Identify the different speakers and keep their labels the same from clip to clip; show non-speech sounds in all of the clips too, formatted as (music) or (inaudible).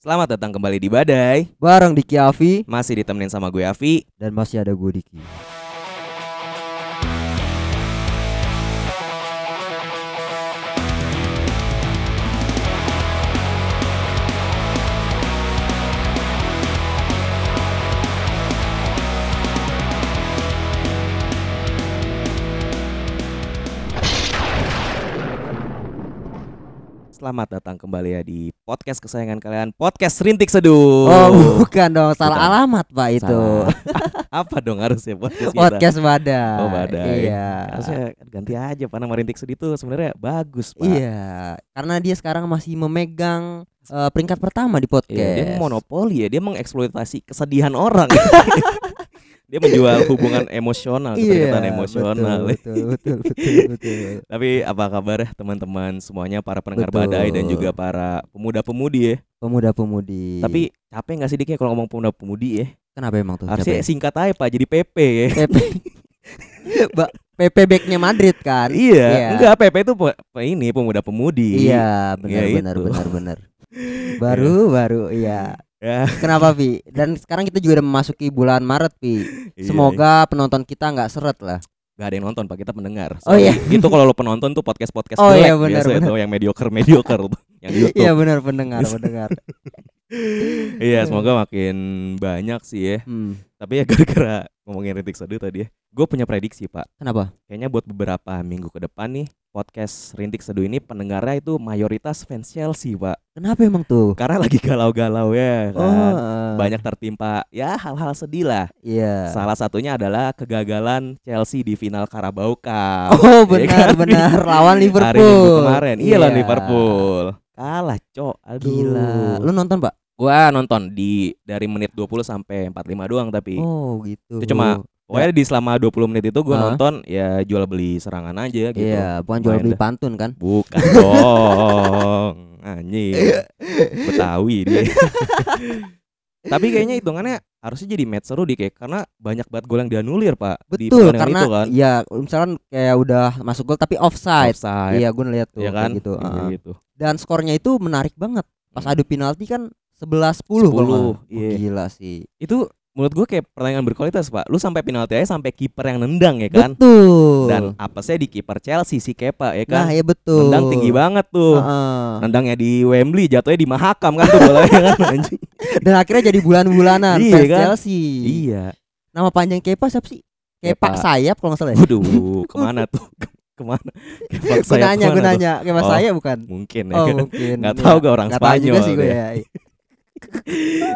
Speaker 1: Selamat datang kembali di Badai.
Speaker 2: bareng Diki Avi
Speaker 1: Masih ditemenin sama gue Avi.
Speaker 2: dan masih ada gue Diki.
Speaker 1: Selamat datang kembali ya di podcast kesayangan kalian, podcast Rintik Seduh.
Speaker 2: Oh, bukan dong, salah
Speaker 1: Bukan.
Speaker 2: alamat Pak itu. (laughs)
Speaker 1: Salah. (laughs) Apa dong harusnya podcast kita?
Speaker 2: Podcast badai.
Speaker 1: Oh, Badai.
Speaker 2: Iya.
Speaker 1: Harusnya ganti aja Pak nama Rintik Seduh itu sebenarnya bagus, Pak.
Speaker 2: Iya, karena dia sekarang masih memegang eh, peringkat pertama di podcast.
Speaker 1: Iya, dia monopoli ya, dia mengeksploitasi kesedihan
Speaker 2: (laughs)
Speaker 1: orang. dia menjual hubungan emosional,
Speaker 2: Iya,
Speaker 1: keterikatan emosional.
Speaker 2: Betul, betul, betul,
Speaker 1: (laughs)
Speaker 2: betul, betul.
Speaker 1: Tapi apa kabar ya teman-teman semuanya para pendengar
Speaker 2: Betul.
Speaker 1: badai dan juga para pemuda-pemudi ya.
Speaker 2: Pemuda-pemudi.
Speaker 1: Tapi capek nggak sih Diknya kalau ngomong pemuda-pemudi ya?
Speaker 2: kenapa emang tuh?
Speaker 1: Harusnya (laughs)
Speaker 2: capek?
Speaker 1: singkat aja Pak jadi PP ya.
Speaker 2: PP. Ba- PP backnya Madrid kan?
Speaker 1: Iya,
Speaker 2: (laughs) Iya.
Speaker 1: enggak PP itu pe- pe- ini pemuda-pemudi.
Speaker 2: Iya, benar
Speaker 1: Iya,
Speaker 2: benar
Speaker 1: itu.
Speaker 2: benar
Speaker 1: (laughs)
Speaker 2: benar. Baru baru iya.
Speaker 1: Ya,
Speaker 2: Kenapa, Pi? Dan sekarang kita juga udah memasuki bulan Maret, Pi.
Speaker 1: (laughs) iya.
Speaker 2: (laughs) Semoga penonton kita nggak seret lah.
Speaker 1: nggak ada yang nonton Pak, kita pendengar.
Speaker 2: Oh, iya.
Speaker 1: Itu kalau lo penonton tuh podcast-podcast
Speaker 2: Oh,
Speaker 1: jelek
Speaker 2: iya, benar,
Speaker 1: biasa
Speaker 2: benar.
Speaker 1: itu yang mediocre-mediocre tuh, yang di YouTube.
Speaker 2: Iya benar (laughs) pendengar pendengar.
Speaker 1: Iya, semoga makin banyak sih ya.
Speaker 2: Hmm.
Speaker 1: Tapi ya (laughs) gara-gara ngomongin Rintik Seduh tadi ya, gue punya prediksi Pak.
Speaker 2: Kenapa?
Speaker 1: Kayaknya buat beberapa minggu ke depan nih podcast Rintik Seduh ini pendengarnya itu mayoritas fans Chelsea Pak.
Speaker 2: Kenapa emang tuh?
Speaker 1: Karena lagi galau-galau ya
Speaker 2: Oh,
Speaker 1: kan.
Speaker 2: eh,
Speaker 1: Banyak tertimpa ya hal-hal sedih lah. (laughs)
Speaker 2: Iya.
Speaker 1: Salah satunya adalah kegagalan Chelsea di final Carabao Cup.
Speaker 2: Oh
Speaker 1: Iya
Speaker 2: benar
Speaker 1: kan? (laughs)
Speaker 2: benar lawan Liverpool.
Speaker 1: Hari Minggu kemarin. Iya lawan Liverpool. Kalah, Cok. Aduh.
Speaker 2: Gila. Lu nonton, Pak?
Speaker 1: Gua nonton di dari menit 20 sampai 45 doang tapi
Speaker 2: Oh,
Speaker 1: Iya.
Speaker 2: gitu.
Speaker 1: Itu cuma pokoknya di selama 20 menit itu gua
Speaker 2: Hah?
Speaker 1: nonton ya jual beli serangan aja gitu.
Speaker 2: Iya, bukan jual
Speaker 1: Main
Speaker 2: beli
Speaker 1: dah.
Speaker 2: pantun kan?
Speaker 1: Bukan (laughs) dong. Anjing. Betawi
Speaker 2: (laughs)
Speaker 1: dia. Tapi kayaknya hitungannya harusnya jadi match seru di kayak karena banyak banget gol yang dianulir, Pak. di pertandingan
Speaker 2: Betul, karena
Speaker 1: itu kan.
Speaker 2: ya misalkan kayak udah masuk gol tapi offside.
Speaker 1: Offside.
Speaker 2: Iya, gue ngeliat tuh
Speaker 1: ya
Speaker 2: kayak
Speaker 1: kan?
Speaker 2: gitu.
Speaker 1: Iya
Speaker 2: heeh.
Speaker 1: gitu.
Speaker 2: Dan skornya itu menarik banget. Pas
Speaker 1: Hmm.
Speaker 2: adu penalti kan 11-10
Speaker 1: 10,
Speaker 2: kalau nggak salah. Oh,
Speaker 1: iya.
Speaker 2: Gila sih.
Speaker 1: Itu menurut gue kayak pertandingan berkualitas, Pak. Lu sampai penalti aja sampai kiper yang nendang ya kan?
Speaker 2: Betul.
Speaker 1: Dan apa sih di kiper Chelsea si Kepa ya
Speaker 2: Nah,
Speaker 1: kan?
Speaker 2: ya betul.
Speaker 1: nendang tinggi banget tuh.
Speaker 2: Heeh.
Speaker 1: Nendangnya di Wembley, jatuhnya di Mahakam kan (laughs) tuh bolanya kan anjing.
Speaker 2: Dan akhirnya jadi bulan-bulanan
Speaker 1: (laughs) Iya,
Speaker 2: fans
Speaker 1: kan?
Speaker 2: Chelsea.
Speaker 1: Iya.
Speaker 2: Nama panjang Kepa siapa sih?
Speaker 1: Kepa.
Speaker 2: Kepa sayap
Speaker 1: (laughs)
Speaker 2: kalau nggak salah. ya?
Speaker 1: Iya. Waduh, kemana tuh? (laughs) Kemana? Kepak
Speaker 2: Gue
Speaker 1: sayap kemana
Speaker 2: nanya, gue
Speaker 1: tuh?
Speaker 2: nanya Kepa
Speaker 1: Oh,
Speaker 2: sayap bukan?
Speaker 1: Mungkin ya
Speaker 2: Oh
Speaker 1: kan.
Speaker 2: mungkin.
Speaker 1: (laughs) Nggak
Speaker 2: Iya.
Speaker 1: tahu gak orang
Speaker 2: Nggak tahu
Speaker 1: Spanyol. Iya.
Speaker 2: juga sih gue
Speaker 1: dia.
Speaker 2: ya.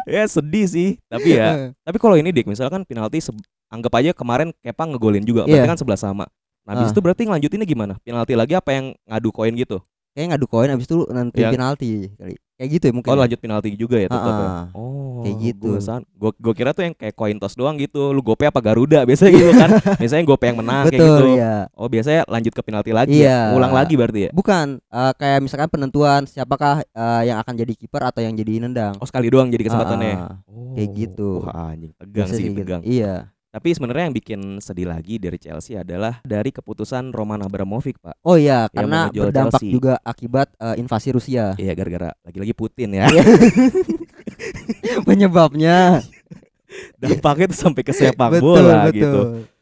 Speaker 1: ya sedih sih, tapi ya Tapi kalau ini Dik, misalkan penalti se- anggap aja kemarin Kepa ngegolin juga, berarti
Speaker 2: Iya.
Speaker 1: kan sebelah sama. Nah, habis
Speaker 2: Ah.
Speaker 1: itu berarti ngelanjutinnya gimana? Penalti lagi apa yang ngadu koin gitu?
Speaker 2: Kayaknya ngadu koin abis itu nanti
Speaker 1: Iya.
Speaker 2: penalti kali. Kayak gitu ya mungkin.
Speaker 1: Oh,
Speaker 2: ya?
Speaker 1: lanjut penalti juga ya tetap ya.
Speaker 2: Heeh.
Speaker 1: Oh,
Speaker 2: Ah, Kayak gitu.
Speaker 1: Gue gua, gua kira tuh yang kayak koin toss doang gitu. Lu gope apa Garuda (laughs) biasanya gitu
Speaker 2: (laughs)
Speaker 1: kan. Biasanya gope yang menang kayak
Speaker 2: Betul
Speaker 1: gitu.
Speaker 2: ya.
Speaker 1: Oh, biasanya lanjut ke penalti lagi.
Speaker 2: Iya.
Speaker 1: Ya? Ulang lagi berarti ya.
Speaker 2: Bukan eh, kayak misalkan penentuan siapakah eh, yang akan jadi kiper atau yang jadi nendang.
Speaker 1: Oh, sekali doang jadi kesempatannya.
Speaker 2: Heeh.
Speaker 1: Oh.
Speaker 2: Ah, kayak gitu.
Speaker 1: Wah, anjing, tegang
Speaker 2: Biasanya
Speaker 1: sih
Speaker 2: gitu.
Speaker 1: tegang.
Speaker 2: Iya.
Speaker 1: Tapi sebenarnya yang bikin sedih lagi dari Chelsea adalah dari keputusan Roman Abramovich, Pak.
Speaker 2: Oh iya,
Speaker 1: Yang
Speaker 2: karena
Speaker 1: mau ngejual
Speaker 2: berdampak
Speaker 1: Chelsea.
Speaker 2: juga akibat eh, invasi
Speaker 1: (laughs)
Speaker 2: Rusia. (laughs)
Speaker 1: Iya, gara-gara lagi-lagi Putin
Speaker 2: Iya.
Speaker 1: ya.
Speaker 2: Penyebabnya
Speaker 1: dampaknya tuh sampai ke sepak
Speaker 2: Betul,
Speaker 1: bola
Speaker 2: betul.
Speaker 1: gitu.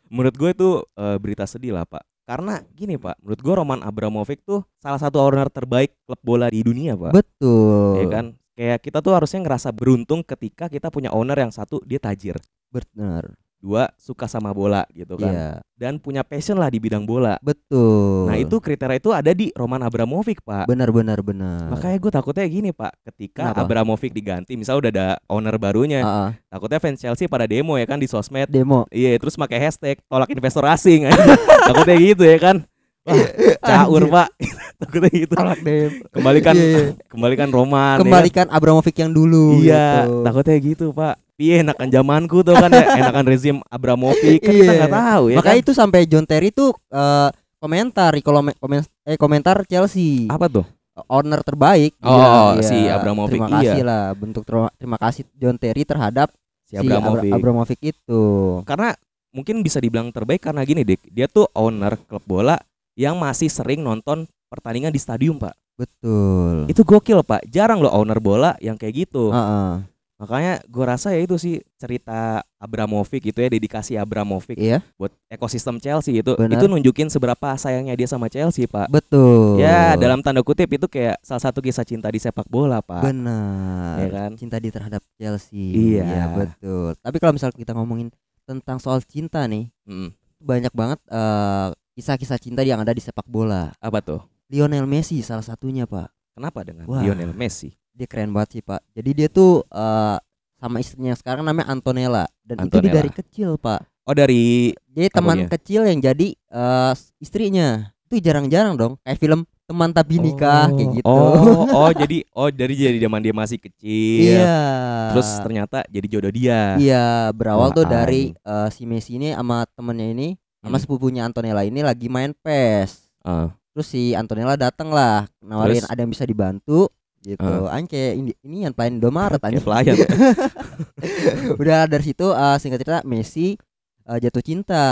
Speaker 1: Menurut gue itu eh, berita sedih lah pak. Karena gini pak, menurut gue Roman Abramovich tuh salah satu owner terbaik klub bola di dunia pak.
Speaker 2: Betul.
Speaker 1: Ya kan? Kayak kita tuh harusnya ngerasa beruntung ketika kita punya owner yang satu dia tajir,
Speaker 2: Benar.
Speaker 1: dua suka sama bola gitu kan,
Speaker 2: Iya,
Speaker 1: dan punya passion lah di bidang bola.
Speaker 2: betul.
Speaker 1: Nah itu kriteria itu ada di Roman Abramovich pak.
Speaker 2: benar benar benar.
Speaker 1: Makanya gue takutnya gini pak, ketika
Speaker 2: Kenapa?
Speaker 1: Abramovich diganti, misal udah ada owner barunya,
Speaker 2: Ah, ah.
Speaker 1: takutnya fans Chelsea pada demo ya kan di sosmed.
Speaker 2: demo.
Speaker 1: Iya, terus pakai hashtag tolak investor asing.
Speaker 2: (laughs)
Speaker 1: Takutnya gitu ya kan. Wah, caur,
Speaker 2: Anjir.
Speaker 1: Pak. (laughs) Takutnya gitu.
Speaker 2: Iya. Tolak demo.
Speaker 1: Kembalikan
Speaker 2: (laughs) Iya, iya.
Speaker 1: kembalikan Roman. ya kan?
Speaker 2: Kembalikan Abramovich yang dulu
Speaker 1: Iya,
Speaker 2: gitu.
Speaker 1: takutnya gitu, Pak. Iya, enakan zamanku tuh kan
Speaker 2: (laughs)
Speaker 1: ya, enakan rezim Abramovich kan kita
Speaker 2: Iya.
Speaker 1: nggak tahu ya.
Speaker 2: Makanya
Speaker 1: kan?
Speaker 2: itu sampai John Terry tuh eh, komentar kalau komen, eh komentar Chelsea.
Speaker 1: apa tuh?
Speaker 2: owner terbaik.
Speaker 1: Oh,
Speaker 2: Iya,
Speaker 1: si
Speaker 2: iya.
Speaker 1: Abramovich,
Speaker 2: Terima kasih lah bentuk ter- terima kasih John Terry terhadap
Speaker 1: Si
Speaker 2: si Abra-
Speaker 1: Abramovich.
Speaker 2: Abramovich itu.
Speaker 1: karena mungkin bisa dibilang terbaik karena gini, Dik. Dia tuh owner klub bola yang masih sering nonton pertandingan di stadium pak
Speaker 2: betul
Speaker 1: itu gokil pak jarang loh owner bola yang kayak gitu
Speaker 2: Heeh.
Speaker 1: makanya gue rasa ya itu sih cerita Abramovich gitu ya dedikasi Abramovich
Speaker 2: iya
Speaker 1: buat ekosistem Chelsea itu
Speaker 2: Benar.
Speaker 1: itu nunjukin seberapa sayangnya dia sama Chelsea pak
Speaker 2: betul
Speaker 1: ya dalam tanda kutip itu kayak salah satu kisah cinta di sepak bola pak
Speaker 2: benar
Speaker 1: ya kan
Speaker 2: cinta dia terhadap Chelsea
Speaker 1: Iya.
Speaker 2: betul tapi kalau misalnya kita ngomongin tentang soal cinta nih
Speaker 1: Mm,
Speaker 2: banyak banget eh, kisah-kisah cinta yang ada di sepak bola
Speaker 1: apa tuh
Speaker 2: Lionel Messi salah satunya pak
Speaker 1: kenapa dengan
Speaker 2: Wah.
Speaker 1: Lionel Messi
Speaker 2: dia keren banget sih pak jadi dia tuh eh, sama istrinya sekarang namanya Antonella dan itu dia
Speaker 1: Antonella.
Speaker 2: dari kecil pak
Speaker 1: oh dari
Speaker 2: jadi teman
Speaker 1: Apanya?
Speaker 2: kecil yang jadi eh, istrinya itu jarang-jarang dong kayak film teman tapi nikah kayak
Speaker 1: Oh,
Speaker 2: gitu (laughs)
Speaker 1: Oh, oh jadi oh dari jadi zaman dia masih kecil.
Speaker 2: iya
Speaker 1: Terus ternyata jadi jodoh dia.
Speaker 2: iya berawal tuh
Speaker 1: Wah,
Speaker 2: dari eh, si Messi ini sama temennya ini sama
Speaker 1: Hmm.
Speaker 2: sepupunya Antonella ini lagi main pes
Speaker 1: Ah,
Speaker 2: terus si Antonella datang lah nawarin
Speaker 1: Terus? Ah.
Speaker 2: ada yang bisa dibantu gitu anke ini ini yang paling Indomaret
Speaker 1: kayak
Speaker 2: anjing.
Speaker 1: pelayan.
Speaker 2: udah dari situ eh, singkat cerita Messi eh, jatuh cinta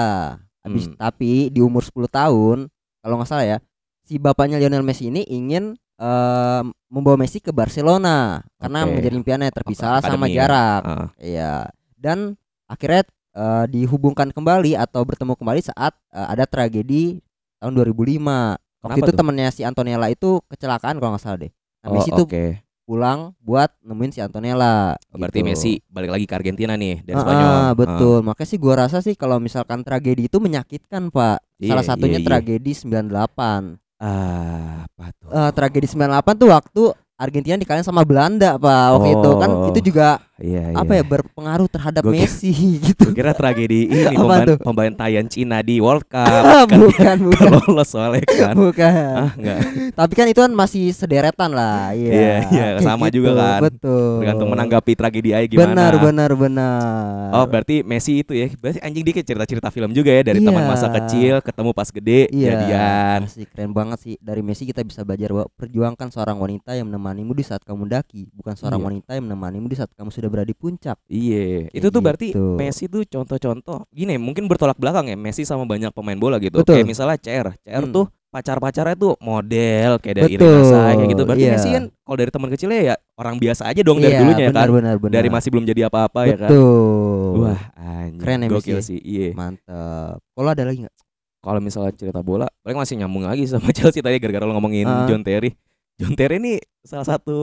Speaker 2: habis
Speaker 1: Hmm.
Speaker 2: tapi di umur 10 tahun kalau nggak salah ya si bapaknya Lionel Messi ini ingin eh, membawa Messi ke Barcelona karena
Speaker 1: Oke.
Speaker 2: menjadi impiannya terpisah
Speaker 1: Ak-
Speaker 2: sama
Speaker 1: akademi ya.
Speaker 2: jarak
Speaker 1: Ah,
Speaker 2: iya dan akhirnya eh, dihubungkan kembali atau bertemu kembali saat eh, ada tragedi tahun 2005 waktu
Speaker 1: Kenapa
Speaker 2: itu
Speaker 1: tuh?
Speaker 2: temennya si Antonella itu kecelakaan kalau nggak salah deh nah,
Speaker 1: oh,
Speaker 2: Messi
Speaker 1: oke. Oh,
Speaker 2: tuh pulang buat nemuin si Antonella
Speaker 1: Berarti
Speaker 2: gitu.
Speaker 1: Messi balik lagi ke Argentina nih dari
Speaker 2: Ah,
Speaker 1: Spanyol.
Speaker 2: ah,
Speaker 1: Ah,
Speaker 2: betul. Makanya sih gua rasa sih kalau misalkan tragedi itu menyakitkan, Pak.
Speaker 1: Iya,
Speaker 2: Salah satunya
Speaker 1: iya, iya.
Speaker 2: tragedi 98.
Speaker 1: Ah, apa tuh?
Speaker 2: Eh tragedi 98 tuh waktu Argentina dikalahin sama Belanda, Pak. Waktu itu kan
Speaker 1: Oh,
Speaker 2: itu juga
Speaker 1: Iya,
Speaker 2: apa
Speaker 1: iya.
Speaker 2: ya berpengaruh terhadap
Speaker 1: Gua kira-
Speaker 2: Messi (laughs) gitu.
Speaker 1: (laughs) Gua Kira tragedi ini
Speaker 2: (laughs) Apa
Speaker 1: pemban-
Speaker 2: tuh?
Speaker 1: pembantaian Cina di World Cup (laughs)
Speaker 2: Ah, bukan,
Speaker 1: Nggak
Speaker 2: bukan.
Speaker 1: lolos soalnya kan.
Speaker 2: Bukan.
Speaker 1: Ah, enggak.
Speaker 2: Tapi kan itu kan masih sederetan lah. Iya.
Speaker 1: Iya, iya,
Speaker 2: Kayak gitu,
Speaker 1: sama juga kan.
Speaker 2: Betul.
Speaker 1: Tergantung menanggapi tragedi aja gimana.
Speaker 2: Benar, benar, benar.
Speaker 1: Oh berarti Messi itu ya Berarti anjing dia kayak cerita-cerita film juga ya Dari
Speaker 2: Iya.
Speaker 1: teman masa kecil ketemu pas gede
Speaker 2: Iya,
Speaker 1: jadian
Speaker 2: asli, keren banget sih. Dari Messi kita bisa belajar bahwa perjuangkan seorang wanita yang menemanimu di saat kamu mendaki, bukan seorang
Speaker 1: Iya.
Speaker 2: wanita yang menemanimu di saat kamu sudah berada di puncak.
Speaker 1: Iya
Speaker 2: Kayak
Speaker 1: Itu tuh berarti
Speaker 2: gitu.
Speaker 1: Messi tuh contoh-contoh Gini mungkin bertolak belakang ya Messi sama banyak pemain bola gitu
Speaker 2: Betul.
Speaker 1: Kayak misalnya CR CR
Speaker 2: Hmm.
Speaker 1: tuh pacar-pacarnya tuh model Kayak dari
Speaker 2: Betul,
Speaker 1: Irina Shayk kayak gitu Berarti
Speaker 2: iya.
Speaker 1: Messi kan kalau dari teman kecilnya ya Orang biasa aja dong dari
Speaker 2: Iya,
Speaker 1: dulunya ya
Speaker 2: benar,
Speaker 1: kan
Speaker 2: Benar, benar.
Speaker 1: Dari masih belum jadi apa-apa ya kan
Speaker 2: Betul.
Speaker 1: Wah anjing
Speaker 2: Keren ya Messi
Speaker 1: Gokil
Speaker 2: ya.
Speaker 1: sih Iya
Speaker 2: Mantap. Kalau ada lagi nggak?
Speaker 1: kalau misalnya cerita bola paling masih nyambung lagi sama (laughs) Chelsea tadi gara-gara lo ngomongin
Speaker 2: Ah.
Speaker 1: John Terry John Terry ini salah satu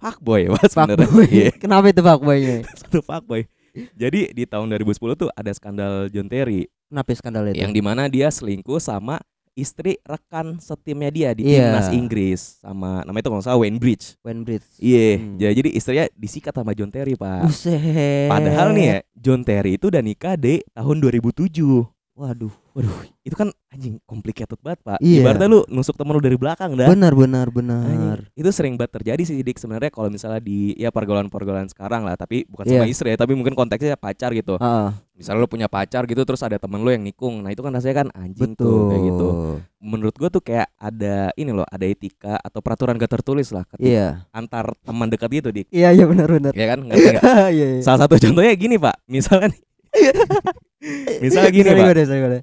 Speaker 1: fuckboy mas sebenarnya
Speaker 2: Fuckboy.
Speaker 1: Iya,
Speaker 2: Kenapa itu fuckboy-nya?
Speaker 1: satu fuckboy jadi di tahun 2010 tuh ada skandal John Terry
Speaker 2: Kenapa ya skandal itu?
Speaker 1: yang dimana dia selingkuh sama istri rekan setimnya dia di
Speaker 2: Iya.
Speaker 1: timnas Inggris sama namanya itu kalau nggak salah Wayne Bridge
Speaker 2: Wayne Bridge.
Speaker 1: iya
Speaker 2: Hmm.
Speaker 1: jadi- jadi istrinya disikat sama John Terry pak
Speaker 2: Buset.
Speaker 1: padahal nih ya John Terry itu udah nikah di tahun 2007
Speaker 2: Waduh.
Speaker 1: itu kan anjing complicated banget pak
Speaker 2: Iya.
Speaker 1: ibaratnya lu nusuk temen lu dari belakang dah
Speaker 2: Benar, benar,
Speaker 1: Anjing,
Speaker 2: benar.
Speaker 1: Itu sering banget terjadi sih Dik sebenarnya kalau misalnya di ya pergaulan-pergaulan sekarang lah, tapi bukan sama
Speaker 2: Iya.
Speaker 1: istri ya, tapi mungkin konteksnya pacar gitu.
Speaker 2: Heeh,
Speaker 1: Misalnya lu punya pacar gitu terus ada temen lu yang nikung. Nah, itu kan rasanya kan anjing tuh
Speaker 2: betul.
Speaker 1: kayak gitu. Menurut gua tuh kayak ada ini loh, ada etika atau peraturan gak tertulis lah ketika
Speaker 2: Iya.
Speaker 1: antar teman dekat gitu, Dik.
Speaker 2: Iya, iya benar, benar.
Speaker 1: Ya kan? Ngerti nggak?
Speaker 2: (laughs) Iya, iya.
Speaker 1: Salah satu contohnya gini, Pak. Misalnya
Speaker 2: (laughs)
Speaker 1: nih, misalnya gini,
Speaker 2: Sorry,
Speaker 1: Pak.
Speaker 2: sorry, sorry, sorry.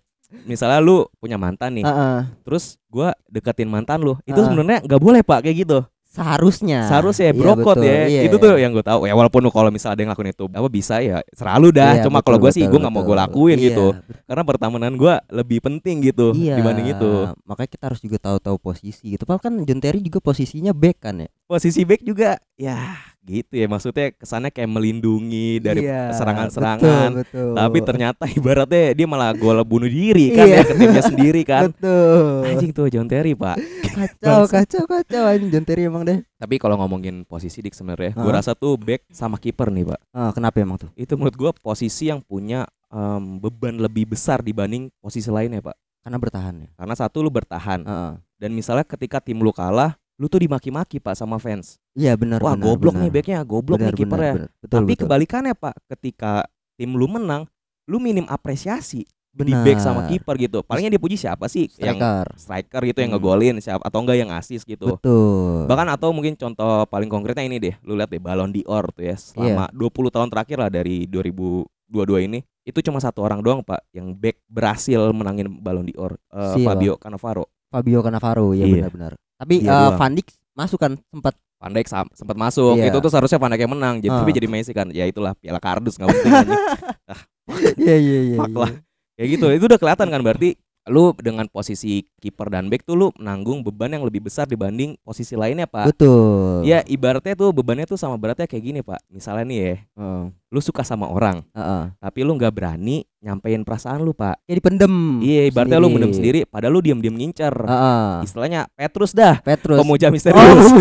Speaker 1: misalnya lu punya mantan nih,
Speaker 2: Heeh.
Speaker 1: terus gua deketin mantan lu. Itu
Speaker 2: Ah.
Speaker 1: sebenarnya nggak boleh, Pak, kayak gitu.
Speaker 2: seharusnya
Speaker 1: seharusnya
Speaker 2: Iya,
Speaker 1: brokot
Speaker 2: betul.
Speaker 1: ya
Speaker 2: Iya,
Speaker 1: itu
Speaker 2: iya.
Speaker 1: tuh yang gue tahu ya walaupun lu kalau misalnya ada yang lakuin itu apa bisa ya selalu dah
Speaker 2: Iya,
Speaker 1: cuma
Speaker 2: betul,
Speaker 1: kalau gue sih
Speaker 2: betul,
Speaker 1: gue nggak mau gue
Speaker 2: betul.
Speaker 1: lakuin
Speaker 2: Iya,
Speaker 1: gitu
Speaker 2: bet-
Speaker 1: karena pertemanan gue lebih penting gitu
Speaker 2: iya.
Speaker 1: dibanding itu
Speaker 2: makanya kita harus juga tahu-tahu posisi gitu Padahal kan John Terry juga posisinya back kan ya
Speaker 1: posisi back juga ya gitu ya maksudnya kesannya kayak melindungi dari
Speaker 2: Iya,
Speaker 1: serangan-serangan
Speaker 2: betul, betul.
Speaker 1: tapi ternyata (laughs) ibaratnya dia malah gol bunuh diri kan
Speaker 2: Iya.
Speaker 1: ya ke timnya sendiri kan
Speaker 2: betul
Speaker 1: anjing tuh John Terry pak
Speaker 2: kacau kacau kacau anjing John Terry emang deh
Speaker 1: tapi kalau ngomongin posisi dik sebenarnya gue
Speaker 2: Hah?
Speaker 1: rasa tuh back sama kiper nih pak
Speaker 2: Ah, kenapa emang tuh
Speaker 1: itu menurut gue posisi yang punya em, beban lebih besar dibanding posisi lainnya pak
Speaker 2: karena bertahan ya Ah,
Speaker 1: karena satu lu bertahan
Speaker 2: Heeh.
Speaker 1: dan misalnya ketika tim lu kalah lu tuh dimaki-maki pak sama fans
Speaker 2: iya benar
Speaker 1: wah
Speaker 2: benar,
Speaker 1: goblok
Speaker 2: benar.
Speaker 1: nih backnya goblok
Speaker 2: Benar,
Speaker 1: nih kipernya
Speaker 2: benar, benar. betul,
Speaker 1: tapi
Speaker 2: betul.
Speaker 1: kebalikannya pak ketika tim lu menang lu minim apresiasi di
Speaker 2: Benar.
Speaker 1: back sama kiper gitu palingnya dipuji siapa sih yang
Speaker 2: striker
Speaker 1: striker gitu yang
Speaker 2: Hmm.
Speaker 1: ngegolin siapa atau enggak yang asis gitu
Speaker 2: betul
Speaker 1: Bahkan atau mungkin contoh paling konkretnya ini deh, lu lihat deh Ballon d'Or tuh ya
Speaker 2: Iya.
Speaker 1: selama 20 tahun terakhir lah dari 2022 ini itu cuma satu orang doang Pak yang back berhasil menangin Ballon d'Or, eh,
Speaker 2: Siapa?
Speaker 1: Fabio Cannavaro.
Speaker 2: Fabio Cannavaro ya
Speaker 1: Iya.
Speaker 2: benar-benar. Tapi
Speaker 1: Dia
Speaker 2: eh,
Speaker 1: doang.
Speaker 2: Van Dijk masuk kan
Speaker 1: (laughs)
Speaker 2: sempat
Speaker 1: Van Dijk sam- sempat masuk
Speaker 2: Iya.
Speaker 1: itu tuh seharusnya Van Dijk yang menang jadi tapi
Speaker 2: Ah.
Speaker 1: (laughs) jadi Messi kan ya itulah piala kardus nggak mungkin anjing.
Speaker 2: Iya iya iya.
Speaker 1: Fuck lah. kayak gitu itu udah kelihatan kan berarti lu dengan posisi kiper dan back tuh lu menanggung beban yang lebih besar dibanding posisi lainnya pak
Speaker 2: Betul.
Speaker 1: ya ibaratnya tuh bebannya tuh sama beratnya kayak gini pak misalnya nih ya
Speaker 2: Heeh.
Speaker 1: lu suka sama orang
Speaker 2: Heeh.
Speaker 1: tapi lu nggak berani nyampein perasaan lu pak
Speaker 2: Jadi pendem.
Speaker 1: iya ibaratnya lu mendem sendiri padahal lu diam-diam ngincer
Speaker 2: Hmm, Heeh.
Speaker 1: istilahnya Petrus dah
Speaker 2: Petrus.
Speaker 1: pemuja
Speaker 2: Oh,
Speaker 1: misterius (laughs)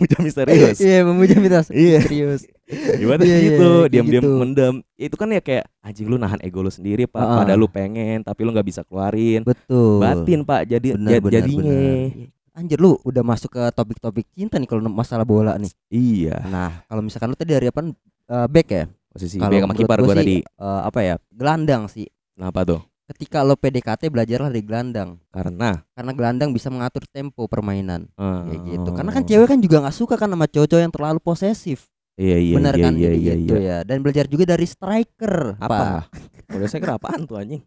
Speaker 1: pemuja misterius
Speaker 2: Iya, memuja mitos.
Speaker 1: Iya.
Speaker 2: Serius.
Speaker 1: Gimana
Speaker 2: Iya, iya,
Speaker 1: gitu,
Speaker 2: kayak
Speaker 1: diam-diam
Speaker 2: gitu.
Speaker 1: mendem. Itu kan ya kayak anjing lu nahan ego lu sendiri, Pak.
Speaker 2: Heeh.
Speaker 1: Padahal lu pengen tapi lu nggak bisa keluarin.
Speaker 2: Betul.
Speaker 1: Batin, Pak. Jadi
Speaker 2: Benar,
Speaker 1: jad-
Speaker 2: benar,
Speaker 1: jadinya.
Speaker 2: benar. Anjir lu udah masuk ke topik-topik cinta nih kalau masalah bola nih.
Speaker 1: Iya.
Speaker 2: Nah, kalau misalkan lu tadi dari apa? Eh, back ya?
Speaker 1: Posisi
Speaker 2: Kalau
Speaker 1: back sama
Speaker 2: menurut
Speaker 1: kiper
Speaker 2: gua
Speaker 1: gua
Speaker 2: sih,
Speaker 1: tadi.
Speaker 2: Eh, apa ya? Gelandang sih.
Speaker 1: Kenapa tuh?
Speaker 2: Ketika lo PDKT belajarlah dari gelandang.
Speaker 1: Karena
Speaker 2: Karena gelandang bisa mengatur tempo permainan.
Speaker 1: eh,
Speaker 2: Kayak gitu. Karena kan cewek kan juga nggak suka kan sama cowok yang terlalu posesif.
Speaker 1: Iya, iya,
Speaker 2: Bener
Speaker 1: iya,
Speaker 2: kan
Speaker 1: iya,
Speaker 2: Jadi
Speaker 1: iya,
Speaker 2: gitu
Speaker 1: iya.
Speaker 2: ya. Dan belajar juga dari striker. Pak.
Speaker 1: Apa? Udah saya kira apaan tuh anjing?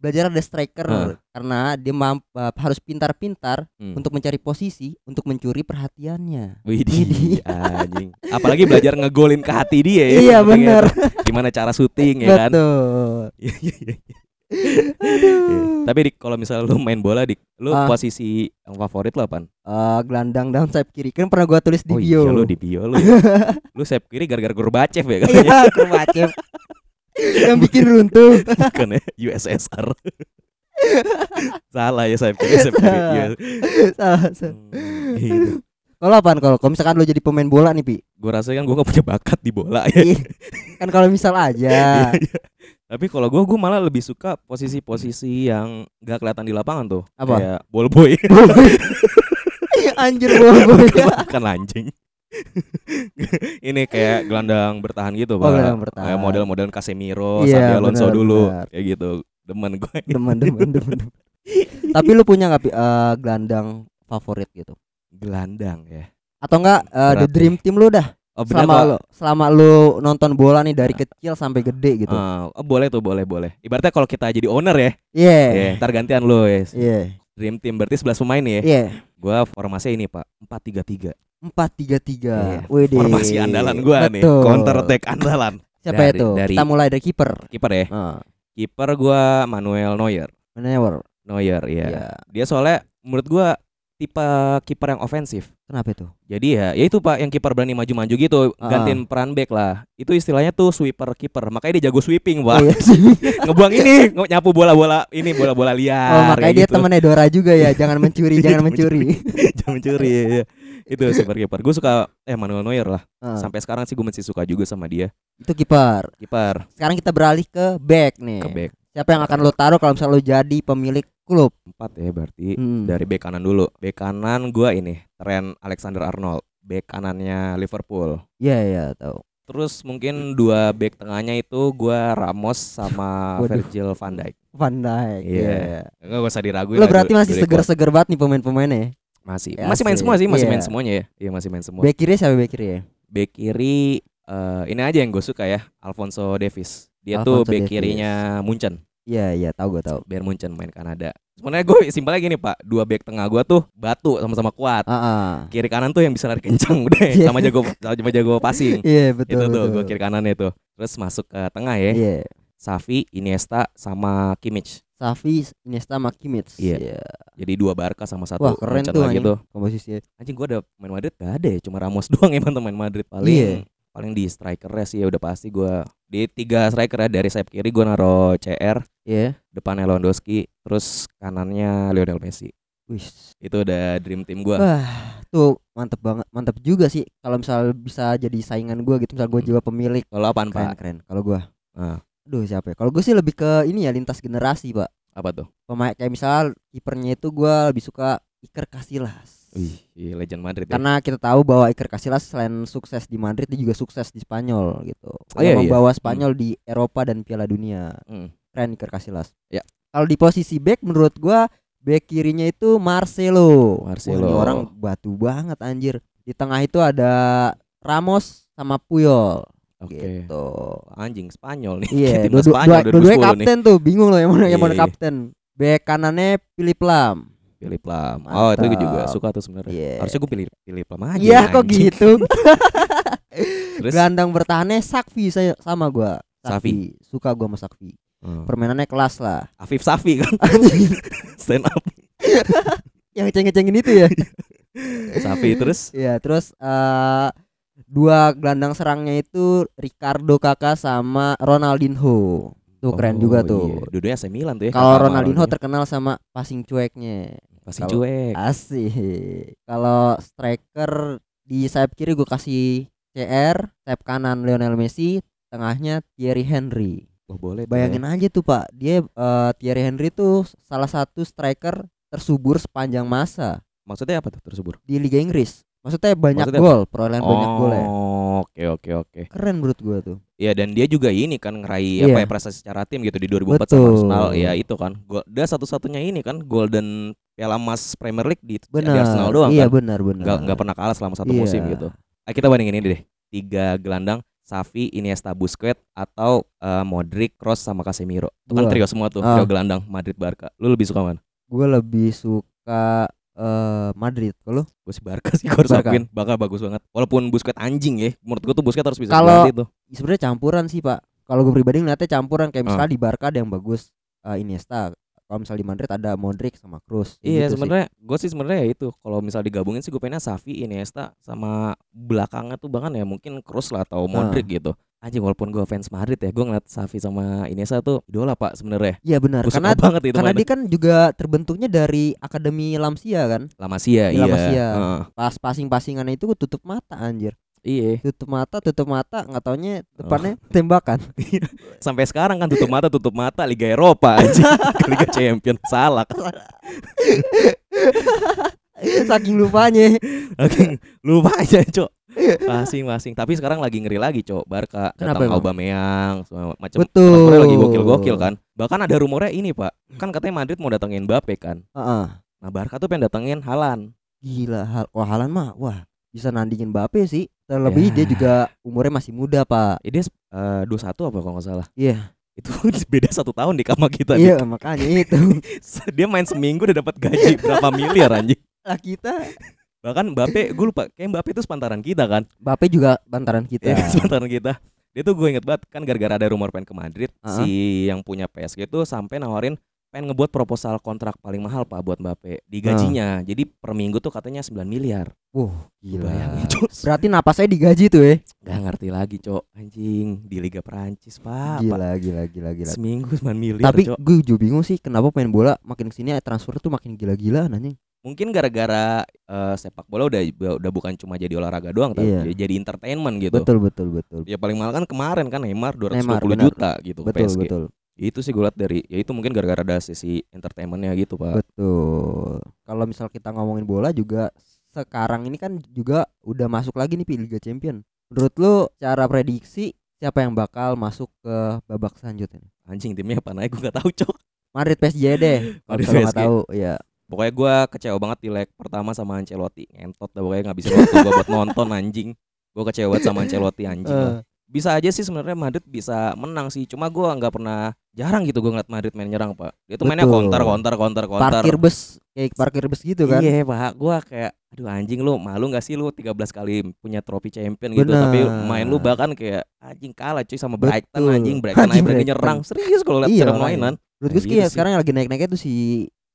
Speaker 2: Belajar dari striker
Speaker 1: Ah.
Speaker 2: karena dia mamp- eh, harus pintar-pintar
Speaker 1: Hmm.
Speaker 2: untuk mencari posisi untuk mencuri perhatiannya.
Speaker 1: Widih, (laughs) anjing. Apalagi belajar ngegolin ke hati dia ya.
Speaker 2: Iya,
Speaker 1: Makanya
Speaker 2: bener.
Speaker 1: tuh, Gimana cara syuting ya kan?
Speaker 2: Betul.
Speaker 1: Iya, iya, iya. Iya. Tapi Dik, kalau misalnya lu main bola, Dik, lu
Speaker 2: Ah.
Speaker 1: posisi yang favorit lo apaan?
Speaker 2: Eh, gelandang downside kiri kan pernah gua tulis di
Speaker 1: oh
Speaker 2: bio.
Speaker 1: iya lu di bio lu
Speaker 2: (laughs)
Speaker 1: ya. lu sayap kiri gara-gara Gorbachev ya katanya
Speaker 2: Iya, Kovacev. yang bikin runtuh.
Speaker 1: bukan ya USSR (laughs) salah ya sayap kiri sayap kiri ya.
Speaker 2: Salah, salah.
Speaker 1: Hmm, gitu.
Speaker 2: Kalau apaan kalau? Kalau misalkan lu jadi pemain bola nih, Pi.
Speaker 1: gue rasa kan gue gak punya bakat di bola ya
Speaker 2: Ih, kan kalau misal
Speaker 1: Iya,
Speaker 2: aja.
Speaker 1: (laughs) tapi kalau gue gue malah lebih suka posisi-posisi yang gak kelihatan di lapangan tuh
Speaker 2: Apa?
Speaker 1: kayak ball
Speaker 2: (laughs)
Speaker 1: boy iya.
Speaker 2: Anjir bola bola.
Speaker 1: (laughs) bukan anjing ini kayak gelandang bertahan gitu
Speaker 2: Oh,
Speaker 1: Pak.
Speaker 2: gelandang bertahan.
Speaker 1: Kayak model-model Casemiro,
Speaker 2: Iya,
Speaker 1: Xabi Alonso
Speaker 2: benar,
Speaker 1: dulu
Speaker 2: benar.
Speaker 1: kayak gitu demen gue
Speaker 2: Demen demen demen. demen. Tapi lu punya nggak Pi, eh, gelandang favorit gitu?
Speaker 1: gelandang ya
Speaker 2: Atau enggak eh, the
Speaker 1: Berat
Speaker 2: dream team lu dah
Speaker 1: oh, benar
Speaker 2: selama
Speaker 1: kok.
Speaker 2: lu selama lu nonton bola nih dari kecil sampai gede gitu.
Speaker 1: Ah, oh, boleh tuh, boleh, boleh. Ibaratnya kalau kita jadi owner ya,
Speaker 2: Iya.
Speaker 1: ya, ntar gantian lo ya.
Speaker 2: Iya.
Speaker 1: Dream team berarti 11 pemain nih ya.
Speaker 2: Iya.
Speaker 1: Gua formasinya ini, Pak. 4-3-3.
Speaker 2: Empat tiga tiga.
Speaker 1: Iya, Formasi andalan gua nih. Counter attack andalan.
Speaker 2: Siapa
Speaker 1: Dari-
Speaker 2: itu?
Speaker 1: dari-
Speaker 2: Kita mulai dari kiper. Ah.
Speaker 1: Kiper ya.
Speaker 2: Heeh.
Speaker 1: Kiper gua Manuel Neuer.
Speaker 2: Neuer.
Speaker 1: Neuer ya.
Speaker 2: Iya.
Speaker 1: Dia soalnya menurut gua tipe kiper yang ofensif.
Speaker 2: Kenapa itu?
Speaker 1: Jadi ya, ya itu Pak yang kiper berani maju-maju gitu,
Speaker 2: Ah.
Speaker 1: gantiin peran back lah. Itu istilahnya tuh sweeper kiper. Makanya dia jago sweeping,
Speaker 2: Oh,
Speaker 1: Pak.
Speaker 2: iya
Speaker 1: (laughs)
Speaker 2: sih.
Speaker 1: Ngebuang ini, nge- nyapu bola-bola ini bola-bola liar.
Speaker 2: Oh,
Speaker 1: kayak
Speaker 2: makanya dia
Speaker 1: gitu. (laughs)
Speaker 2: temannya Dora juga ya. Jangan mencuri, jangan mencuri.
Speaker 1: Jangan mencuri ya, ya. Itu super kiper. Gue suka eh Manuel Neuer lah.
Speaker 2: Heeh.
Speaker 1: Sampai sekarang sih gue masih suka juga sama dia.
Speaker 2: Ah. itu kiper.
Speaker 1: Kiper
Speaker 2: Sekarang kita beralih ke back nih.
Speaker 1: ke back
Speaker 2: Siapa yang akan lo taruh kalau misalnya lo jadi pemilik klub?
Speaker 1: 4 ya berarti
Speaker 2: Hmm.
Speaker 1: dari back kanan dulu. Back kanan gue ini Trent Alexander Arnold. Back kanannya Liverpool.
Speaker 2: Iya iya tahu.
Speaker 1: Terus mungkin dua back tengahnya itu gue Ramos sama
Speaker 2: Waduh.
Speaker 1: Virgil van Dijk.
Speaker 2: Van Dijk.
Speaker 1: Iya.
Speaker 2: Iya.
Speaker 1: Enggak gak usah diraguin.
Speaker 2: Lo
Speaker 1: lah,
Speaker 2: berarti
Speaker 1: Du-
Speaker 2: masih
Speaker 1: Dully Court.
Speaker 2: seger-seger banget nih pemain-pemainnya. ya?
Speaker 1: Masih.
Speaker 2: Ya,
Speaker 1: masih main
Speaker 2: sih.
Speaker 1: semua sih, masih
Speaker 2: Iya.
Speaker 1: main semuanya ya. Iya, masih main semua. Back,
Speaker 2: Back kiri siapa back kiri ya?
Speaker 1: kiri eh, ini aja yang gue suka ya, Alfonso Davis. Dia tuh
Speaker 2: Alphonso
Speaker 1: back
Speaker 2: Davies.
Speaker 1: kirinya Munchen.
Speaker 2: Iya iya tahu gue tahu.
Speaker 1: Bayern Munchen main Kanada. Sebenarnya gue simpelnya gini pak, dua back tengah gue tuh batu sama-sama kuat.
Speaker 2: Ah ah.
Speaker 1: Kiri kanan tuh yang bisa lari kencang (laughs) udah,
Speaker 2: Iya.
Speaker 1: sama jago sama jago passing.
Speaker 2: Iya betul.
Speaker 1: itu tuh gue
Speaker 2: betul.
Speaker 1: kiri kanannya tuh. Terus masuk ke tengah ya,
Speaker 2: Iya.
Speaker 1: Safi, Iniesta sama Kimmich.
Speaker 2: Safi, Iniesta, sama Kimmich.
Speaker 1: Iya.
Speaker 2: Iya.
Speaker 1: Jadi dua Barca sama satu
Speaker 2: Wah keren
Speaker 1: Munchen
Speaker 2: tuh ya.
Speaker 1: lagi
Speaker 2: anjing
Speaker 1: tuh.
Speaker 2: komposisinya.
Speaker 1: Anjing gue ada main Madrid gak ada ya, cuma Ramos (laughs) doang emang teman Madrid paling.
Speaker 2: Iya.
Speaker 1: Paling di striker sih ya udah pasti gue di tiga striker ya dari sayap kiri gue naro CR,
Speaker 2: Iya.
Speaker 1: depannya Lewandowski, terus kanannya Lionel Messi.
Speaker 2: Wis.
Speaker 1: Itu udah dream team gue.
Speaker 2: Wah tuh mantep banget, mantep juga sih. Kalau misalnya bisa jadi saingan gue gitu, misal gue juga pemilik.
Speaker 1: Kalau apaan
Speaker 2: Keren
Speaker 1: pak?
Speaker 2: keren. Kalau gue,
Speaker 1: Hmm. Ah.
Speaker 2: aduh siapa ya? Kalau gue sih lebih ke ini ya lintas generasi pak.
Speaker 1: Apa tuh?
Speaker 2: pemain kayak misal kipernya itu gua lebih suka Iker Casillas.
Speaker 1: Wih, iya, legend Madrid ya.
Speaker 2: Karena kita tahu bahwa Iker Casillas selain sukses di Madrid dia juga sukses di Spanyol gitu.
Speaker 1: Oh, iya,
Speaker 2: Karena
Speaker 1: iya.
Speaker 2: membawa Spanyol di Eropa dan Piala Dunia.
Speaker 1: Hmm.
Speaker 2: Keren Iker Casillas.
Speaker 1: Ya.
Speaker 2: Kalau di posisi back menurut gua back kirinya itu Marcelo. Wah,
Speaker 1: Marcelo.
Speaker 2: ini orang batu banget anjir. Di tengah itu ada Ramos sama Puyol
Speaker 1: Oke.
Speaker 2: gitu.
Speaker 1: Anjing Spanyol nih.
Speaker 2: Iya,
Speaker 1: (laughs) Timnas
Speaker 2: dua-dua
Speaker 1: Spanyol
Speaker 2: dua-
Speaker 1: 2010
Speaker 2: dua-duanya
Speaker 1: nih.
Speaker 2: kapten tuh, bingung loh yang mana yang
Speaker 1: Iya,
Speaker 2: mana
Speaker 1: iya.
Speaker 2: kapten. Bek kanannya Philip Lam.
Speaker 1: Pilih Plam. Oh, itu gue juga
Speaker 2: Mantap.
Speaker 1: suka tuh sebenarnya.
Speaker 2: Iya.
Speaker 1: Harusnya gue pilih pilih Plam aja.
Speaker 2: Iya kok
Speaker 1: anjing.
Speaker 2: gitu.
Speaker 1: (laughs) Terus
Speaker 2: Gelandang bertahannya Sakfi saya sama gua.
Speaker 1: Sakfi.
Speaker 2: Sakfi. Suka gua sama Sakfi.
Speaker 1: hmm,
Speaker 2: Permainannya kelas lah.
Speaker 1: Afif Safi
Speaker 2: (laughs)
Speaker 1: kan (laughs) stand up
Speaker 2: yang ceng-cengin
Speaker 1: (laughs)
Speaker 2: itu ya.
Speaker 1: Safi terus
Speaker 2: Iya, terus eh dua gelandang serangnya itu Ricardo Kakak sama Ronaldinho. Tuh keren
Speaker 1: Oh,
Speaker 2: juga tuh.
Speaker 1: iya. Dua-duanya AC Milan tuh ya. Kakak
Speaker 2: Kalau
Speaker 1: sama
Speaker 2: Ronaldinho terkenal sama passing cueknya.
Speaker 1: masih
Speaker 2: kalau-
Speaker 1: cuek.
Speaker 2: Asih. Kalau striker di sayap kiri gue kasih CR, sayap kanan Lionel Messi, tengahnya Thierry Henry.
Speaker 1: Oh, boleh. tuh ya.
Speaker 2: Bayangin aja tuh Pak, dia eh, Thierry Henry tuh salah satu striker tersubur sepanjang masa
Speaker 1: Maksudnya apa tuh tersebut?
Speaker 2: di Liga Inggris. Maksudnya banyak
Speaker 1: Maksudnya apa?
Speaker 2: gol, perolehan banyak gol ya.
Speaker 1: Oh, oke oke oke.
Speaker 2: Keren menurut gua tuh.
Speaker 1: Iya dan dia juga ini kan ngeraih
Speaker 2: Iya.
Speaker 1: apa ya prestasi secara tim gitu di 2004 sama
Speaker 2: Betul.
Speaker 1: Arsenal ya itu kan. Gol dia satu-satunya ini kan Golden Piala Emas Premier League di, di
Speaker 2: Benar.
Speaker 1: Arsenal doang
Speaker 2: iya,
Speaker 1: kan.
Speaker 2: benar benar.
Speaker 1: Nggak nggak pernah kalah selama satu musim
Speaker 2: Iya.
Speaker 1: gitu. Eh, kita bandingin ini deh. Tiga gelandang Safi, Iniesta, Busquets atau eh, Modric, Kroos sama Casemiro. Itu kan
Speaker 2: Dua.
Speaker 1: trio semua tuh,
Speaker 2: Ah.
Speaker 1: trio gelandang Madrid Barca. Lu lebih suka mana?
Speaker 2: Gua lebih suka eh, Madrid kalau
Speaker 1: Gue sih Barca sih gue harus
Speaker 2: Barca.
Speaker 1: akuin. Barca bagus banget. Walaupun Busquets anjing ya, menurut gue tuh Busquets harus bisa
Speaker 2: Kalau-
Speaker 1: diganti tuh.
Speaker 2: sebenarnya campuran sih Pak. Kalau gue pribadi ngeliatnya campuran
Speaker 1: Ah.
Speaker 2: kayak misalnya di Barca ada yang bagus eh, Iniesta. Kalau misalnya di Madrid ada Modric sama Kroos. Kayak
Speaker 1: Iya
Speaker 2: gitu sih.
Speaker 1: sebenarnya gue sih sebenarnya ya itu kalau misal digabungin sih gue pengennya Safi, Iniesta sama belakangnya tuh bahkan ya mungkin Kroos lah atau Modric gitu. Anjing walaupun gue fans Madrid ya gue ngeliat Safi sama Iniesta tuh idola pak sebenarnya.
Speaker 2: Iya benar.
Speaker 1: Gue
Speaker 2: Karena
Speaker 1: suka banget itu
Speaker 2: karena
Speaker 1: mainnya.
Speaker 2: dia kan juga terbentuknya dari akademi Lamsia kan.
Speaker 1: La Masia,
Speaker 2: Di
Speaker 1: iya.
Speaker 2: La Masia.
Speaker 1: Heeh.
Speaker 2: Pas passing-passingannya itu tutup mata anjir.
Speaker 1: iya.
Speaker 2: Tutup mata, tutup mata, nggak taunya depannya
Speaker 1: Ah.
Speaker 2: tembakan. (laughs)
Speaker 1: Sampai sekarang kan tutup mata tutup mata Liga Eropa (laughs) aja. Liga Champion salah.
Speaker 2: Saking lupanya.
Speaker 1: (laughs) Oke, lupa aja cok. Masing-masing. Tapi sekarang lagi ngeri lagi cok. Barca
Speaker 2: Iya. Kenapa
Speaker 1: datang
Speaker 2: emang?
Speaker 1: Aubameyang semua macam.
Speaker 2: Betul.
Speaker 1: Rumornya lagi gokil-gokil kan. Bahkan ada rumornya ini pak. Kan katanya Madrid mau datengin Mbappe kan.
Speaker 2: Heeh.
Speaker 1: Nah Barca tuh pengen datengin Halan.
Speaker 2: Gila, hal wah Haaland mah wah bisa nandingin Mbappe sih. Terlebih dia
Speaker 1: Ya.
Speaker 2: juga umurnya masih muda, Pak.
Speaker 1: Ini eh 21 apa kalau nggak salah?
Speaker 2: Iya.
Speaker 1: Itu (laughs) beda satu tahun di kamar kita. Dik.
Speaker 2: Iya, makanya itu. (laughs)
Speaker 1: Dia main seminggu udah dapat gaji
Speaker 2: Iya.
Speaker 1: berapa miliar anjing.
Speaker 2: lah kita
Speaker 1: Bahkan Mbappe, gue lupa. Kayak Mbappe itu sepantaran kita kan.
Speaker 2: Mbappe juga bantaran kita.
Speaker 1: Iya kan, (laughs) sepantaran kita. Dia tuh gue inget banget kan gara-gara ada rumor pengen ke Madrid,
Speaker 2: Heeh.
Speaker 1: si yang punya PSG itu sampai nawarin pengen ngebuat proposal kontrak paling mahal Pak buat Mbappe di gajinya. Jadi per minggu tuh katanya 9 miliar.
Speaker 2: Wuh,
Speaker 1: Lu
Speaker 2: gila.
Speaker 1: Bayangin, Cok.
Speaker 2: Berarti napasnya digaji tuh ya.
Speaker 1: Gak ngerti lagi, Cok. Anjing, di Liga Prancis, Pak. Pak.
Speaker 2: Gila, gila, gila, gila.
Speaker 1: Seminggu 9 miliar,
Speaker 2: Tapi
Speaker 1: Cok.
Speaker 2: gue juga bingung sih kenapa pemain bola makin kesini ya, transfer tuh makin gila-gilaan anjing.
Speaker 1: Mungkin gara-gara eh, sepak bola udah udah bukan cuma jadi olahraga doang, tapi ya
Speaker 2: Iya.
Speaker 1: jadi entertainment gitu.
Speaker 2: Betul, betul, betul.
Speaker 1: Ya paling mahal kan kemarin kan Neymar 220
Speaker 2: Neymar, benar.
Speaker 1: juta gitu
Speaker 2: Betul,
Speaker 1: PSG.
Speaker 2: betul.
Speaker 1: Itu sih gue liat dari ya itu mungkin gara-gara ada sisi entertainmentnya gitu, Pak.
Speaker 2: Betul. Kalau misal kita ngomongin bola juga sekarang ini kan juga udah masuk lagi nih Pi, Liga Champion. Menurut lu cara prediksi siapa yang bakal masuk ke babak selanjutnya?
Speaker 1: anjing timnya apa naik gue gak tahu cok
Speaker 2: Madrid PSG deh.
Speaker 1: (laughs)
Speaker 2: Kalau
Speaker 1: Madrid
Speaker 2: misal lu nggak
Speaker 1: PSG.
Speaker 2: tahu, ya.
Speaker 1: pokoknya gue kecewa banget di leg pertama sama Ancelotti ngentot dah pokoknya ngabisin waktu gue buat nonton anjing gue kecewa banget sama Ancelotti anjing lah.
Speaker 2: Eh,
Speaker 1: bisa aja sih sebenarnya Madrid bisa menang sih cuma gue nggak pernah jarang gitu gue ngeliat Madrid main nyerang pak dia tuh mainnya
Speaker 2: Betul.
Speaker 1: counter counter counter counter
Speaker 2: parkir bus kayak parkir bus gitu kan.
Speaker 1: iya pak gue kayak aduh anjing lu malu gak sih lu 13 kali punya trofi champion gitu
Speaker 2: Benar.
Speaker 1: tapi main lu bahkan kayak anjing kalah cuy sama Brighton
Speaker 2: Betul.
Speaker 1: anjing Brighton aja
Speaker 2: Anjing
Speaker 1: berani
Speaker 2: Brighton.
Speaker 1: nyerang serius kalau lihat
Speaker 2: Iya,
Speaker 1: cara
Speaker 2: makanya.
Speaker 1: mainan
Speaker 2: Menurut gue
Speaker 1: Nah,
Speaker 2: sih
Speaker 1: gitu
Speaker 2: kayak
Speaker 1: sih.
Speaker 2: sekarang yang lagi naik-naiknya tuh si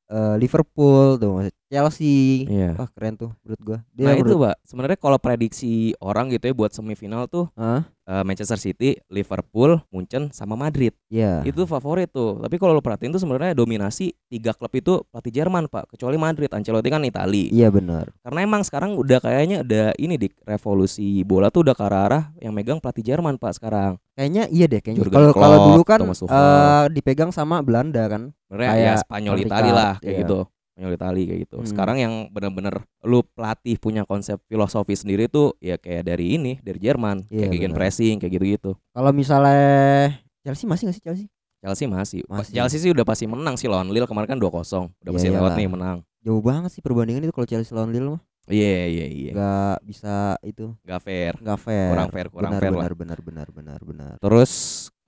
Speaker 2: eh, Liverpool tuh maksud- Chelsea.
Speaker 1: iya
Speaker 2: Wah, keren tuh menurut gua. Dia
Speaker 1: Nah itu
Speaker 2: menurut-
Speaker 1: pak, sebenarnya kalau prediksi orang gitu ya buat semifinal tuh
Speaker 2: Hah?
Speaker 1: eh, Manchester City, Liverpool, Munchen sama Madrid
Speaker 2: Iya.
Speaker 1: itu favorit tuh. Tapi kalau lo perhatiin tuh sebenarnya dominasi tiga klub itu pelatih Jerman pak, kecuali Madrid, Ancelotti kan Itali.
Speaker 2: Iya benar.
Speaker 1: Karena emang sekarang udah kayaknya udah ini di revolusi bola tuh udah ke arah, arah yang megang pelatih Jerman pak sekarang.
Speaker 2: Kayaknya iya deh kayaknya.
Speaker 1: Jurgen
Speaker 2: Kalau kalau
Speaker 1: Klopp,
Speaker 2: dulu kan
Speaker 1: Thomas Tuchel.
Speaker 2: eh, dipegang sama Belanda kan.
Speaker 1: Sebenarnya ya
Speaker 2: Kayak
Speaker 1: Spanyol
Speaker 2: Van
Speaker 1: Itali lah
Speaker 2: Rijkaard,
Speaker 1: kayak
Speaker 2: iya.
Speaker 1: gitu. Spanyol Itali kayak gitu.
Speaker 2: Hmm.
Speaker 1: Sekarang yang bener-bener lu pelatih punya konsep filosofi sendiri tuh ya kayak dari ini dari Jerman, kayak
Speaker 2: Iya,
Speaker 1: gegen
Speaker 2: benar.
Speaker 1: pressing kayak gitu-gitu.
Speaker 2: Kalau misalnya Chelsea masih nggak sih Chelsea?
Speaker 1: Chelsea masih.
Speaker 2: Masih.
Speaker 1: Chelsea sih udah pasti menang sih lawan Lille kemarin kan 2-0. Udah pasti
Speaker 2: Iya,
Speaker 1: lewat
Speaker 2: iyalah.
Speaker 1: nih menang.
Speaker 2: Jauh banget sih perbandingan itu kalau Chelsea lawan Lille mah.
Speaker 1: Iya iya iya.
Speaker 2: Nggak bisa itu
Speaker 1: Gak fair.
Speaker 2: nggak fair.
Speaker 1: Kurang fair, kurang
Speaker 2: benar,
Speaker 1: fair lah.
Speaker 2: benar, benar benar benar benar
Speaker 1: Terus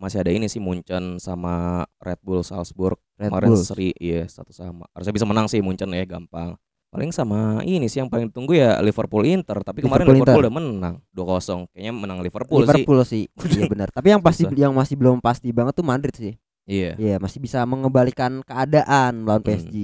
Speaker 1: masih ada ini sih Munchen sama Red Bull Salzburg
Speaker 2: Red
Speaker 1: kemarin
Speaker 2: Bulls.
Speaker 1: seri iya satu sama harusnya bisa menang sih Munchen ya gampang paling sama ini sih yang paling ditunggu ya Liverpool Inter tapi kemarin Liverpool,
Speaker 2: Liverpool
Speaker 1: udah menang 2-0 kayaknya menang Liverpool, sih
Speaker 2: Liverpool sih. Iya benar. Tapi yang
Speaker 1: (laughs)
Speaker 2: pasti
Speaker 1: Susah.
Speaker 2: yang masih belum pasti banget tuh Madrid sih.
Speaker 1: iya
Speaker 2: Iya, masih bisa mengembalikan keadaan melawan
Speaker 1: Hmm.
Speaker 2: PSG.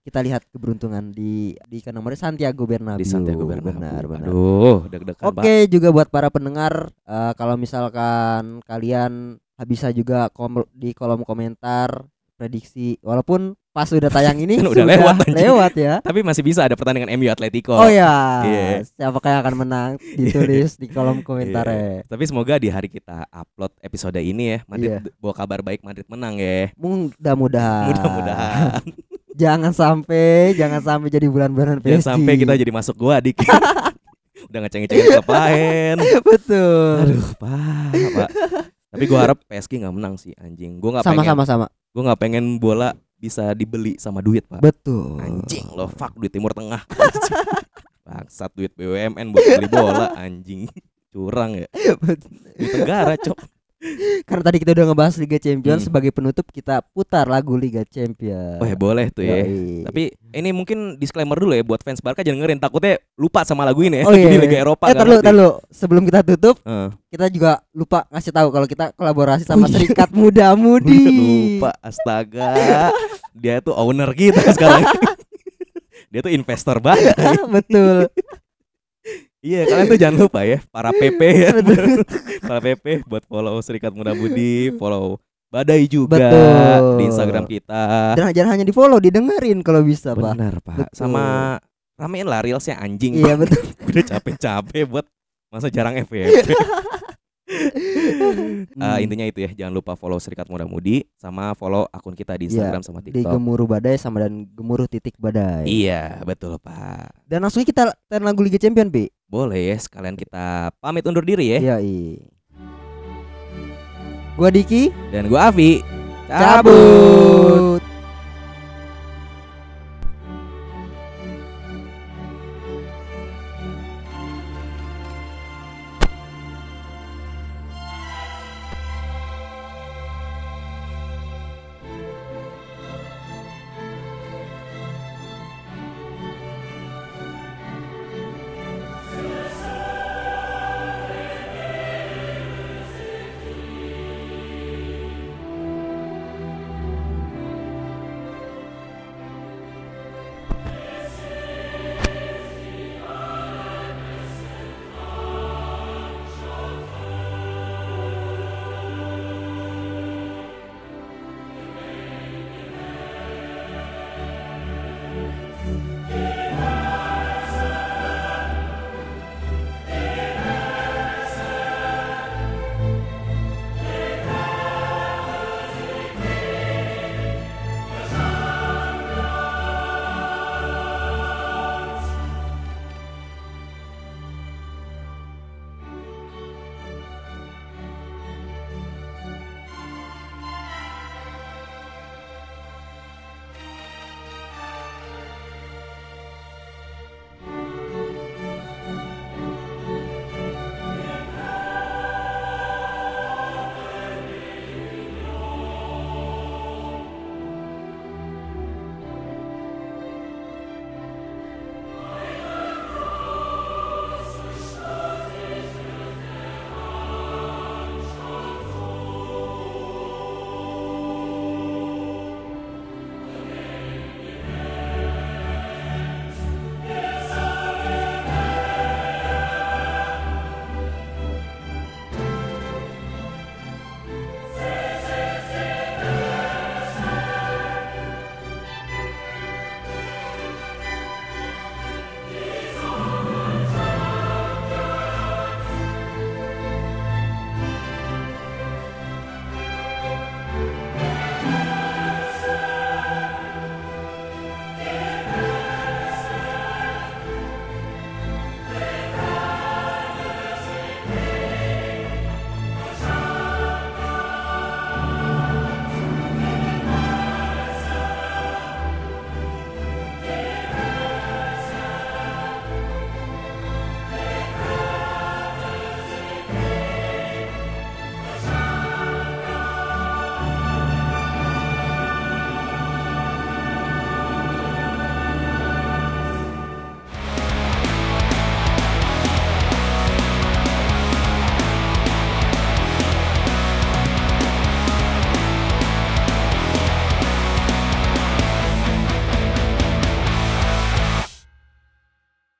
Speaker 2: Kita lihat keberuntungan di di kandang mereka Santiago Bernabeu.
Speaker 1: di Santiago Bernabeu
Speaker 2: Benar, benar.
Speaker 1: aduh deg-degan
Speaker 2: Oke
Speaker 1: banget
Speaker 2: juga buat para pendengar eh, kalau misalkan kalian bisa juga kom- di kolom komentar prediksi walaupun pas sudah tayang
Speaker 1: (laughs)
Speaker 2: ini
Speaker 1: Kan udah
Speaker 2: sudah
Speaker 1: lewat, anjing.
Speaker 2: lewat ya.
Speaker 1: tapi masih bisa ada pertandingan MU Atletico
Speaker 2: Oh ya,
Speaker 1: Iya.
Speaker 2: siapa yang akan
Speaker 1: (laughs)
Speaker 2: menang ditulis di kolom komentar ya.
Speaker 1: tapi semoga di hari kita upload episode ini ya Madrid
Speaker 2: Iya.
Speaker 1: bawa kabar baik Madrid menang ya
Speaker 2: Mudah-mudahan.
Speaker 1: mudah-mudahan
Speaker 2: Jangan sampai, jangan sampai jadi bulan-bulan PSG.
Speaker 1: jangan sampai kita jadi masuk gua
Speaker 2: (laughs)
Speaker 1: dikit udah ngeceng-ngecengin klub lain
Speaker 2: betul.
Speaker 1: aduh pak pak tapi gua harap PSG nggak menang sih anjing gua nggak pengen
Speaker 2: Sama-sama sama.
Speaker 1: gua nggak pengen bola bisa dibeli sama duit pak
Speaker 2: Betul. (laughs)
Speaker 1: anjing lo fuck duit timur tengah (laughs) bangsat duit BUMN buat beli bola anjing curang ya duit negara cok
Speaker 2: Karena tadi kita udah ngebahas Liga Champions
Speaker 1: Hmm.
Speaker 2: sebagai penutup kita putar lagu Liga Champions.
Speaker 1: Wah boleh tuh ya
Speaker 2: Yoi. (laughs)
Speaker 1: Tapi ini mungkin disclaimer dulu ya buat fans Barca jangan dengerin takutnya lupa sama lagu ini ya.
Speaker 2: Oh, iya,
Speaker 1: Di
Speaker 2: iya.
Speaker 1: Liga Eropa
Speaker 2: eh
Speaker 1: nggak
Speaker 2: tar dulu,
Speaker 1: ngerti.
Speaker 2: tar dulu. sebelum kita tutup
Speaker 1: Heeh.
Speaker 2: kita juga lupa ngasih tahu kalau kita kolaborasi
Speaker 1: Oh,
Speaker 2: sama
Speaker 1: iya.
Speaker 2: Serikat Muda Mudi.
Speaker 1: (laughs) Lupa astaga. Dia tuh owner kita (laughs) sekarang. Dia tuh investor banget.
Speaker 2: (laughs)
Speaker 1: (laughs)
Speaker 2: betul.
Speaker 1: Iya, kalian tuh jangan lupa ya para PP ya.
Speaker 2: Betul.
Speaker 1: para PP buat follow Serikat Muda Budi, follow Badai juga di
Speaker 2: Betul.
Speaker 1: Instagram kita.
Speaker 2: Dan jangan hanya di follow, didengerin kalau bisa pak.
Speaker 1: Benar, Pak.
Speaker 2: Betul.
Speaker 1: Sama ramein lah reelsnya anjing.
Speaker 2: Iya betul.
Speaker 1: (laughs) Udah capek-capek buat masa jarang FYP.
Speaker 2: Iya.
Speaker 1: Eh,
Speaker 2: Hmm.
Speaker 1: intinya itu ya jangan lupa follow Serikat Muda Mudi sama follow akun kita di
Speaker 2: Iya,
Speaker 1: Instagram sama
Speaker 2: di
Speaker 1: TikTok.
Speaker 2: gemuruh badai sama dan gemuruh titik badai.
Speaker 1: Iya betul pak.
Speaker 2: Dan langsung kita tar lagu Liga Champions bi.
Speaker 1: Boleh ya sekalian kita pamit undur diri ya.
Speaker 2: Iya. Yoi. Gua Diki.
Speaker 1: Dan gue Avi.
Speaker 2: Cabut.